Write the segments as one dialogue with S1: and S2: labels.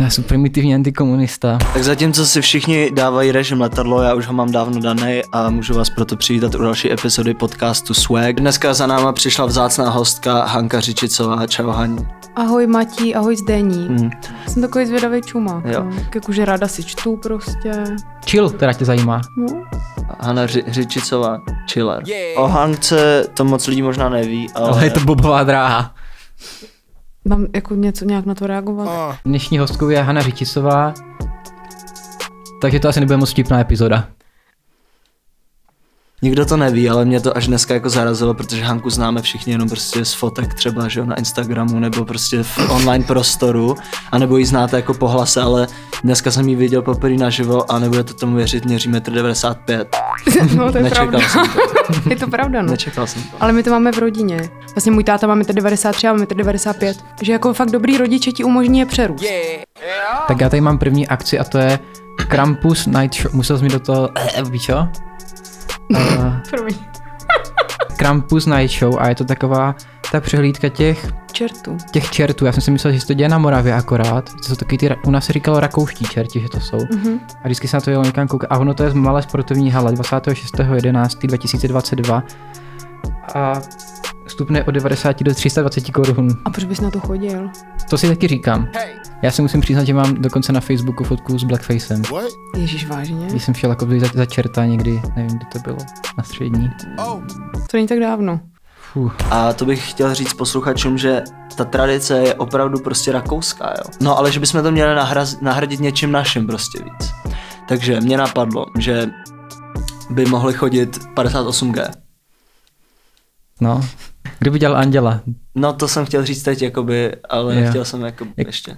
S1: Já jsem primitivní antikomunista.
S2: Tak zatímco si všichni dávají režim letadlo, já už ho mám dávno daný a můžu vás proto přivítat u další epizody podcastu Swag. Dneska za náma přišla vzácná hostka Hanka Řičicová. Čau, Haň.
S3: Ahoj Matí, ahoj Zdení.
S2: Mm.
S3: Jsem takový zvědavý čumák.
S2: Jo.
S3: No. Tak jakože ráda si čtu prostě.
S1: Chill, která tě zajímá.
S3: No.
S2: Hana Ři- Řičicová, chiller. O Hance to moc lidí možná neví, ale,
S1: Ale je to bobová dráha.
S3: Mám jako něco nějak na to reagovat.
S2: No.
S1: Dnešní hostkou je Hana Řitisová. Takže to asi nebude moc vtipná epizoda.
S2: nikdo to neví, ale mě to až dneska jako zarazilo, protože Hanku známe všichni jenom prostě z fotek třeba, že jo, na Instagramu nebo prostě v online prostoru, anebo ji znáte jako po hlase, ale dneska jsem ji viděl poprvé naživo a nebudete tomu věřit, měří 1,95 m.
S3: no, to je
S2: Nečekal
S3: pravda.
S2: jsem to,
S3: je to pravda, no.
S2: nečekal jsem to.
S3: Ale my to máme v rodině. Vlastně můj táta má 93 a mám 95. Takže jako fakt dobrý rodiče ti umožní je přerůst.
S1: Tak já tady mám první akci a to je Krampus Night Show. Musel jsi mi do toho, eh, víš čo? Eh,
S3: Promiň.
S1: Krampus Night Show a je to taková ta přehlídka těch,
S3: Čertu.
S1: těch čertů. Já jsem si myslel, že se to děje na Moravě akorát. To jsou taky ty, ra- u nás se říkalo rakouští čerti, že to jsou.
S3: Mhm.
S1: A vždycky se na to jelo někam koukat. A ono to je z malé sportovní hala 26.11.2022 a vstupné od 90 do 320 korun.
S3: A proč bys na to chodil?
S1: To si taky říkám. Já si musím přiznat, že mám dokonce na Facebooku fotku s blackfacem.
S4: What?
S3: Ježíš vážně?
S1: Když jsem šel jako za, za čerta někdy, nevím, kdy to bylo, na střední.
S4: Oh.
S3: To není tak dávno.
S1: Fuh.
S2: A to bych chtěl říct posluchačům, že ta tradice je opravdu prostě rakouská, jo. No ale že bychom to měli nahraz, nahradit něčím naším prostě víc. Takže mě napadlo, že by mohli chodit 58G.
S1: No. Kdo by dělal anděla?
S2: No to jsem chtěl říct teď jakoby, ale
S1: Jo.
S2: yeah. chtěl jsem jako
S1: Jak-
S2: ještě.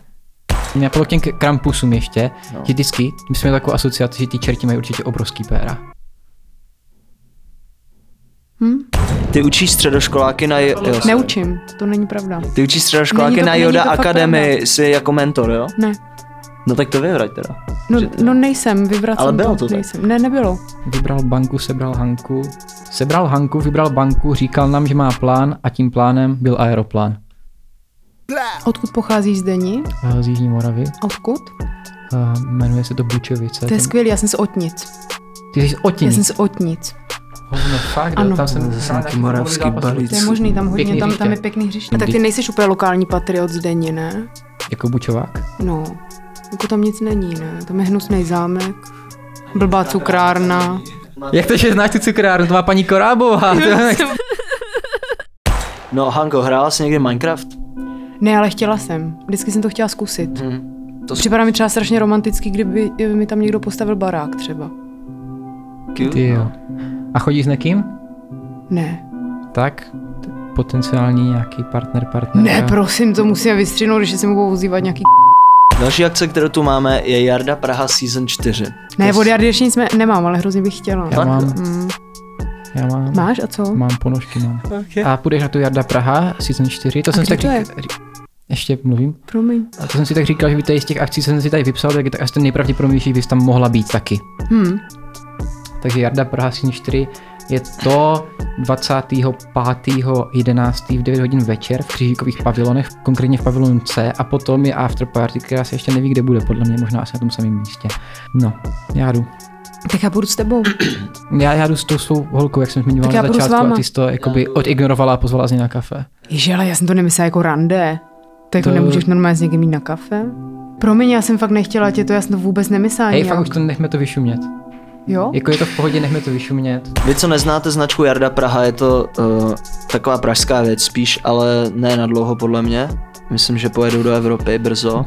S1: Mě napadlo k těm k- krampusům ještě,
S2: No.
S1: no. že vždycky, my jsme měli takovou asociaci, že ty čerti mají určitě obrovský péra.
S3: Hm?
S2: Ty učíš středoškoláky na... Jo,
S3: Neučím, to není pravda.
S2: Ty učíš středoškoláky
S3: Není to-
S2: na
S3: není
S2: Yoda
S3: to fakt
S2: Academy, jsi jako mentor, jo?
S3: Ne,
S2: No tak to vyvrať teda.
S3: no,
S2: Že to-
S3: no nejsem, vyvracím
S2: Ale bylo to tak.
S3: nejsem. Ne, nebylo.
S1: Vybral banku, sebral Hanku. Sebral Hanku, vybral banku, říkal nám, že má plán a tím plánem byl aeroplán.
S3: Odkud pocházíš z Dení?
S1: Eh, Z Jižní Moravy.
S3: A Odkud?
S1: Eh, Jmenuje se to Bučovice.
S3: To je
S1: Tam-
S3: skvělý, já jsem z Otnic.
S1: Ty jsi
S3: Já
S1: otin.
S3: jsem z Otnic.
S1: Hovno, fakt,
S3: Ano.
S1: jo, tam jsem
S2: Zase nějaký
S1: hrál
S2: moravský
S1: fotbalový zápas.
S2: balíc.
S3: To je možný, tam hodně,
S1: Pěkný
S3: tam, tam je
S1: hřiště.
S3: pěkný hřiště. A tak ty nejseš úplně lokální patriot z Dení, ne?
S1: Jako Bučovák?
S3: No, jako tam nic není, ne? Tam je hnusný zámek, blbá cukrárna.
S1: Jak to, že znáš tu cukrárnu? To má paní Korábová.
S2: No Hanko, hrála jsi někdy Minecraft?
S3: Ne, ale chtěla jsem. Vždycky jsem to chtěla zkusit.
S2: Hm. To
S3: Připadá mi třeba strašně romantický, kdyby mi tam někdo postavil barák třeba.
S2: cute,
S1: Ty
S2: no.
S1: jo. A chodíš s někým?
S3: Ne.
S1: Tak? Potenciální nějaký partner, partner.
S3: Ne, prosím, to musíme vystřihnout, když se mohou ozývat nějaký
S2: Další akce, kterou tu máme, je Jarda Praha Season 4.
S3: Ne,
S2: Yes.
S3: od Jardy ještě nic ne- nemám, ale hrozně bych chtěla.
S1: Já
S2: Fakt,
S1: mám,
S3: Mm.
S1: já mám.
S3: Máš a co?
S1: Mám ponožky, mám. A půjdeš na tu Jarda Praha, season 4, to
S3: A
S1: jsem si
S3: kdy
S1: tak
S3: to je?
S1: řík- ří- Ještě mluvím.
S3: Promiň.
S1: A to jsem si tak říkal, že by tady z těch akcí co jsem si tady vypsal, tak, je tak asi ten nejpravděpodobnější bys tam mohla být taky.
S3: Hm.
S1: Takže Jarda Praha Sin 4 je to 25.11. v 9 hodin večer v křížíkových pavilonech, konkrétně v pavilonu C a potom je after party, která se ještě neví, kde bude, podle mě možná asi na tom samém místě. No, já jdu.
S3: Tak já půjdu s tebou.
S1: Já, já jdu s tou svou holkou, jak jsem zmiňoval
S3: Tak
S1: na
S3: já půjdu s
S1: začátku, a
S3: váma.
S1: ty jsi to jakoby odignorovala a pozvala z ní na kafe.
S3: Ježi, ale já jsem to nemyslela jako rande. To jako
S1: To-
S3: to... nemůžeš normálně s někým jít na kafe? Promiň, já jsem fakt nechtěla tě, to já jsem to vůbec nemyslela
S1: Hej,
S3: nějak.
S1: fakt už to nechme to vyšumět.
S3: Jo?
S1: Jako je to v pohodě, nechme to vyšumět.
S2: Vy, co neznáte značku Jarda Praha, je to uh, taková pražská věc spíš, ale ne na dlouho podle mě. Myslím, že pojedou do Evropy brzo.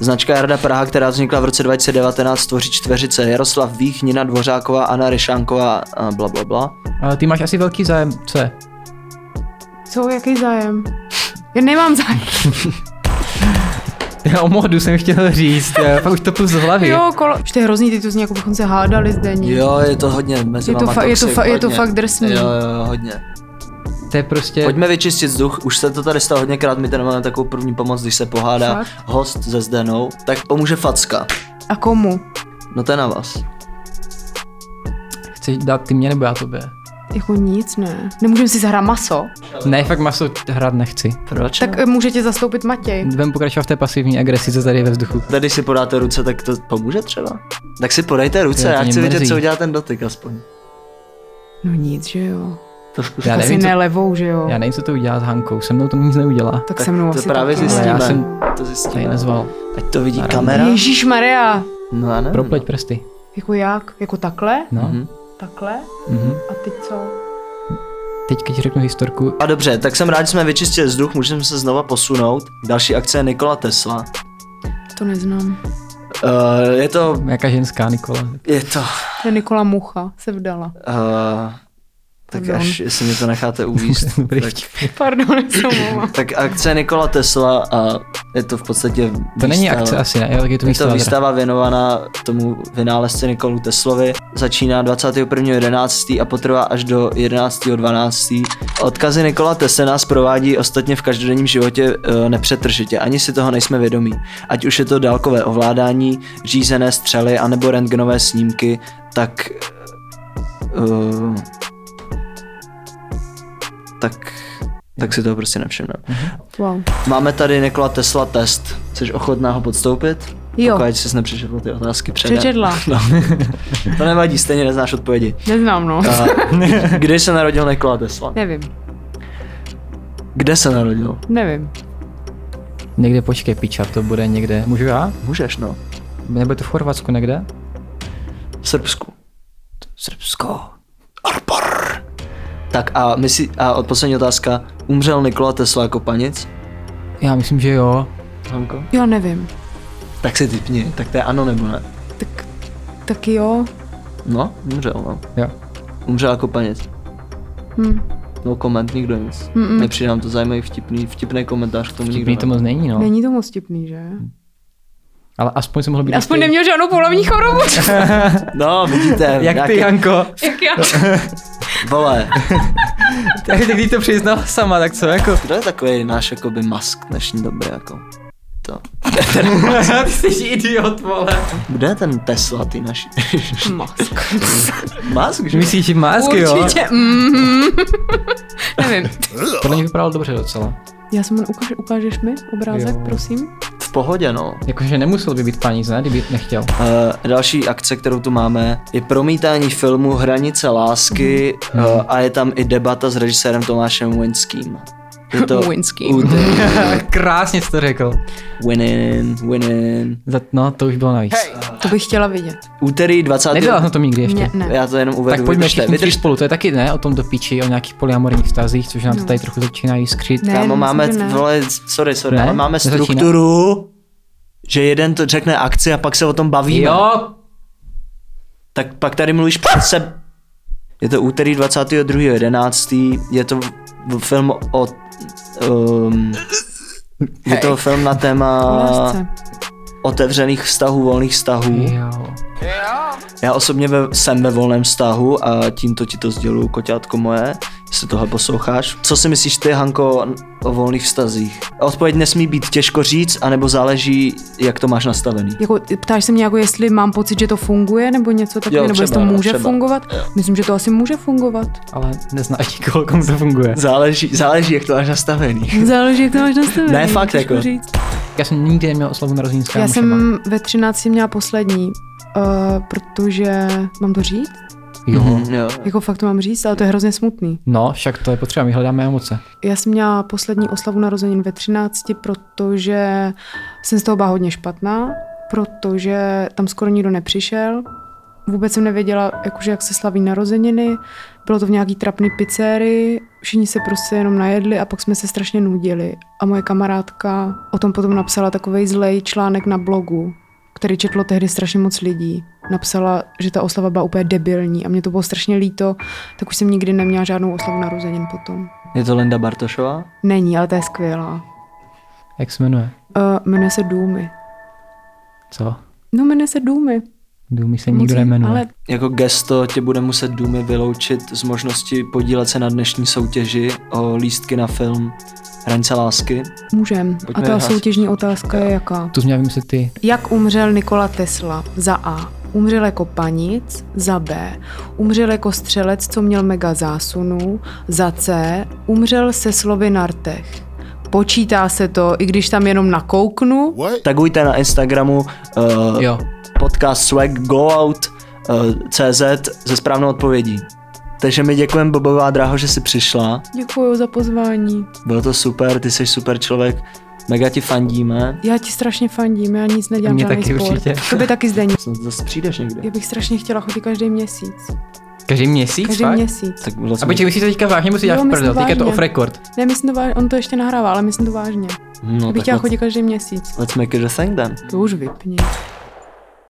S2: Značka Jarda Praha, která vznikla v roce 2019, tvoří čtveřice Jaroslav Vích, Nina Dvořáková, Anna Ryšánková a bla bla bla.
S1: Ale ty máš asi velký zájem, co je?
S3: Co, jaký zájem? Já nemám zájem.
S1: Já o mohdu jsem chtěl říct, já, pak už to plus z hlavy.
S3: Jo, kolo. Už to je hrozný, ty tu zní, jako bychom se hádali zde.
S2: Jo, je to hodně mezi
S3: Je to
S2: váma
S3: fa- je to
S2: toxic,
S3: fa- je to
S2: hodně.
S3: fakt drsný.
S2: Jo, jo, hodně.
S1: To je prostě...
S2: Pojďme vyčistit vzduch, už se to tady stalo hodněkrát, my tady máme takovou první pomoc, když se pohádá
S3: Fakt?
S2: host se Zdenou, tak pomůže facka.
S3: A komu?
S2: No to je na vás.
S1: Chceš dát ty mě nebo já tobě?
S3: Jako nic, ne. Nemůžeme si zahrát maso.
S1: Ne, fakt maso hrát nechci.
S2: Proč?
S3: Tak eh, můžete zastoupit Matěj.
S1: Budeme pokračovat v té pasivní agresi, co tady je ve vzduchu.
S2: Tady když si podáte ruce, tak to pomůže třeba? Tak si podejte ruce,
S1: Jo, to
S2: já
S1: mě
S2: chci vidět,
S1: mrzí.
S2: co udělá ten dotyk aspoň.
S3: No nic, že jo.
S2: To zkus.
S1: Já
S3: asi
S1: nevím, co,
S3: ne levou, že jo.
S1: já nevím, co to udělá s Hankou, se mnou to nic neudělá.
S3: Tak, se mnou
S2: to
S3: asi
S2: právě
S3: taky, ale-
S2: zjistíme.
S1: já jsem-
S2: To
S1: Tady
S2: zjistíme.
S1: nezval.
S2: Ať to vidí
S1: Ano.
S2: kamera.
S3: Ježíš Maria.
S2: No já nevím.
S1: Propleť prsty.
S3: Jako jak? Jako takhle?
S1: No.
S2: Mhm.
S3: Takhle?
S1: Mhm.
S3: A teď co?
S1: Teď, když řeknu historku,
S2: A dobře, tak jsem rád, že jsme vyčistili vzduch, můžeme se znova posunout. Další akce je Nikola Tesla.
S3: To neznám.
S2: Uh, je to...
S1: jaká ženská Nikola.
S2: Je to...
S3: To je Nikola Mucha se vdala.
S2: Uh, tak
S3: Pardon.
S2: až, jestli mě to necháte uvíst.
S1: Dobrý
S2: tak,
S1: vtip.
S3: Pardon, já se omlouvám.
S2: tak akce je Nikola Tesla a je to v podstatě výstava.
S1: To není akce asi, ne? Jo, tak je to
S2: Je to
S1: výstava. teda.
S2: výstava věnovaná tomu vynálezci Nikolu Teslovi. Začíná 21.11. a potrvá až do 11.12. Odkazy Nikola Tesla nás provádí ostatně v každodenním životě e, nepřetržitě, ani si toho nejsme vědomí. Ať už je to dálkové ovládání, řízené střely anebo rentgenové snímky, tak... Uh, tak tak si toho prostě nevšimneme.
S3: Wow.
S2: Máme tady Nikola Tesla test. Jsi ochotná ho podstoupit?
S3: Jo.
S2: Pokud jsi nepřečetla ty otázky předem.
S3: Přečetla.
S2: No, to nevadí, stejně neznáš odpovědi.
S3: Neznám, no.
S2: A kdy se narodil Nikola Tesla?
S3: Nevím,
S2: Kde se narodil?
S3: nevím.
S1: Někde počkej, piča, to bude někde. Můžu já?
S2: Můžeš, no.
S1: Nebo je to v Chorvatsku někde?
S2: V Srbsku. Srbsko. Arpar. Tak a, my si, a od poslední otázka. Umřel Nikola Tesla jako panic?
S1: Já myslím, že jo.
S2: Hanko?
S3: Jo, nevím.
S2: Tak si typni, tak to je ano nebo ne?
S3: Tak, tak jo.
S2: No, umřel, no.
S1: Jo.
S2: Umřel jako panic.
S3: Hm.
S2: No comment, nikdo nic.
S3: Mm-mm.
S2: Nepřijde nám to zajímavý vtipný, vtipný komentář k tomu
S1: Vtipný
S2: nikdo
S1: to moc není, no.
S3: Není to moc vtipný, že?
S1: Ale aspoň jsem mohl být...
S3: Aspoň
S1: jistý.
S3: neměl žádnou polovní chorobu.
S2: No, vidíte.
S1: Jak ty, Janko?
S3: Jak já.
S2: Vole,
S1: Tak když to přiznala sama, tak co jako?
S2: kdo je takový náš jakoby mask v dnešní době jako? To.
S1: Ty jsi idiot, vole.
S2: Kde je ten Tesla, ty naši?
S3: Mask.
S2: mask, že?
S1: Myslíš, že másk, jo?
S3: Určitě. Mhm. nevím.
S1: Podle mě vypadalo dobře docela.
S3: Já jsem ukáž, ukážeš mi obrázek,
S1: Jo.
S3: prosím?
S2: V pohodě, no.
S1: Jakože nemusel by být paní, ne, kdyby nechtěl.
S2: Uh, další akce, kterou tu máme, je promítání filmu Hranice lásky
S1: Mm.
S2: uh, a je tam i debata s režisérem Tomášem Winským. Je to
S3: Winským.
S2: Udy-
S1: Krásně jsi to řekl.
S2: Winin, Winin.
S1: Za- No, to už bylo navíc.
S3: To bych chtěla vidět.
S2: Úterý 20.
S1: Nedělal jsem to nikdy ještě.
S3: Ne, ne.
S2: Já to jenom uvedu.
S1: Tak pojďme
S2: vydržte,
S1: všichni tři
S2: vydržte.
S1: spolu, to je taky ne, o tom do piči, o nějakých polyamorních vztazích, což nám to
S3: No.
S1: tady trochu začíná jiskřit.
S3: Ne.
S2: Kámo,
S3: myslím,
S2: máme,
S3: že ne.
S2: vole, sorry, sorry,
S1: Ne?
S2: ale máme
S1: Nezačíná?
S2: strukturu, že jeden to řekne akci a pak se o tom bavíme.
S1: Jo,
S2: Tak pak tady mluvíš před se... Je to úterý 22.11. Je to v- v- film o... Um, je to film na téma
S3: Lásce.
S2: otevřených vztahů, volných vztahů.
S1: jo.
S2: Já osobně ve, jsem ve volném vztahu a tímto ti to sděluju, koťátko moje, jestli tohle posloucháš. Co si myslíš ty, Hanko, o volných vztazích? Odpověď nesmí být těžko říct, anebo záleží, jak to máš nastavený.
S3: Jako, ptáš se mě, jako jestli mám pocit, že to funguje, nebo něco takového, nebo
S2: třeba,
S3: jestli to
S2: no,
S3: může
S2: třeba.
S3: fungovat? Myslím, že to asi může fungovat.
S1: Ale neznáš nikoho, komu to funguje.
S2: Záleží, záleží, jak to máš nastavený.
S3: Záleží, jak to máš nastavený.
S2: Ne, fakt,
S3: těžko
S2: jako.
S3: říct.
S1: Já jsem nikdy neměl oslavu narozenin s
S3: Já
S1: kámošema.
S3: jsem ve 13 měla poslední, uh, protože, mám to říct?
S1: Jo.
S2: Mhm, jo.
S3: Jako fakt to mám říct, ale to je hrozně smutný.
S1: No, však to je potřeba, my hledáme emoce.
S3: Já jsem měla poslední oslavu narozenin ve 13, protože jsem z toho byla hodně špatná, protože tam skoro nikdo nepřišel. Vůbec jsem nevěděla, jakože, jak se slaví narozeniny. Bylo to v nějaký trapný pizzerii, všichni se prostě jenom najedli a pak jsme se strašně nudili. A moje kamarádka o tom potom napsala takový zlej článek na blogu, který četlo tehdy strašně moc lidí. Napsala, že ta oslava byla úplně debilní a mě to bylo strašně líto, tak už jsem nikdy neměla žádnou oslavu narozenin potom.
S2: Je to Linda Bartošová?
S3: Není, ale to je skvělá.
S1: Jak se jmenuje?
S3: Uh, jmenuje se Důmy.
S1: Co?
S3: No, jmenuje se Důmy.
S1: Důmy se nikdo
S3: Moc-
S1: nemenuje.
S3: Ale
S2: Jako gesto tě bude muset Dumy vyloučit z možnosti podílet se na dnešní soutěži o lístky na film Hranice lásky.
S3: můžem. A
S2: Pojďme
S3: ta
S2: hrát.
S3: soutěžní otázka je jaká?
S1: Tu jsi měla vymyslet ty.
S3: Jak umřel Nikola Tesla? Za A. Umřel jako panic, za B. Umřel jako střelec, co měl mega zásunu, za C. Umřel se slovy na rtech. Počítá se to, i když tam jenom nakouknu.
S4: What?
S2: Tagujte na Instagramu uh,
S1: Jo.
S2: podcast swag goout uh, CZ se správnou odpovědí. Takže my děkujeme Bobová dráho, že jsi přišla.
S3: Děkuji za pozvání.
S2: Bylo to super, ty jsi super člověk. Mega ti fandíme.
S3: Já ti strašně fandím, já nic nedělám.
S1: Mně
S3: žádný
S1: taky
S3: sport.
S1: určitě.
S3: Tobě taky zdení.
S2: Snad Zase přijdeš někde.
S3: Já bych strašně chtěla chodit každý měsíc.
S1: Každý měsíc,
S3: Každý
S1: fakt?
S3: měsíc.
S2: Tak
S1: A
S2: vlastně...
S1: počkej, myslíš to teďka vážně, musí
S3: Jo,
S1: dělat v
S3: myslím
S1: prdel, teďka je to
S3: vážně.
S1: off record.
S3: Ne, myslím to vážně, on to ještě nahrává, ale myslím to vážně.
S2: no,
S3: Já bych
S2: tak
S3: chtěla
S2: let's,
S3: chodit každý měsíc.
S2: let's make it a thing then.
S3: To už vypni.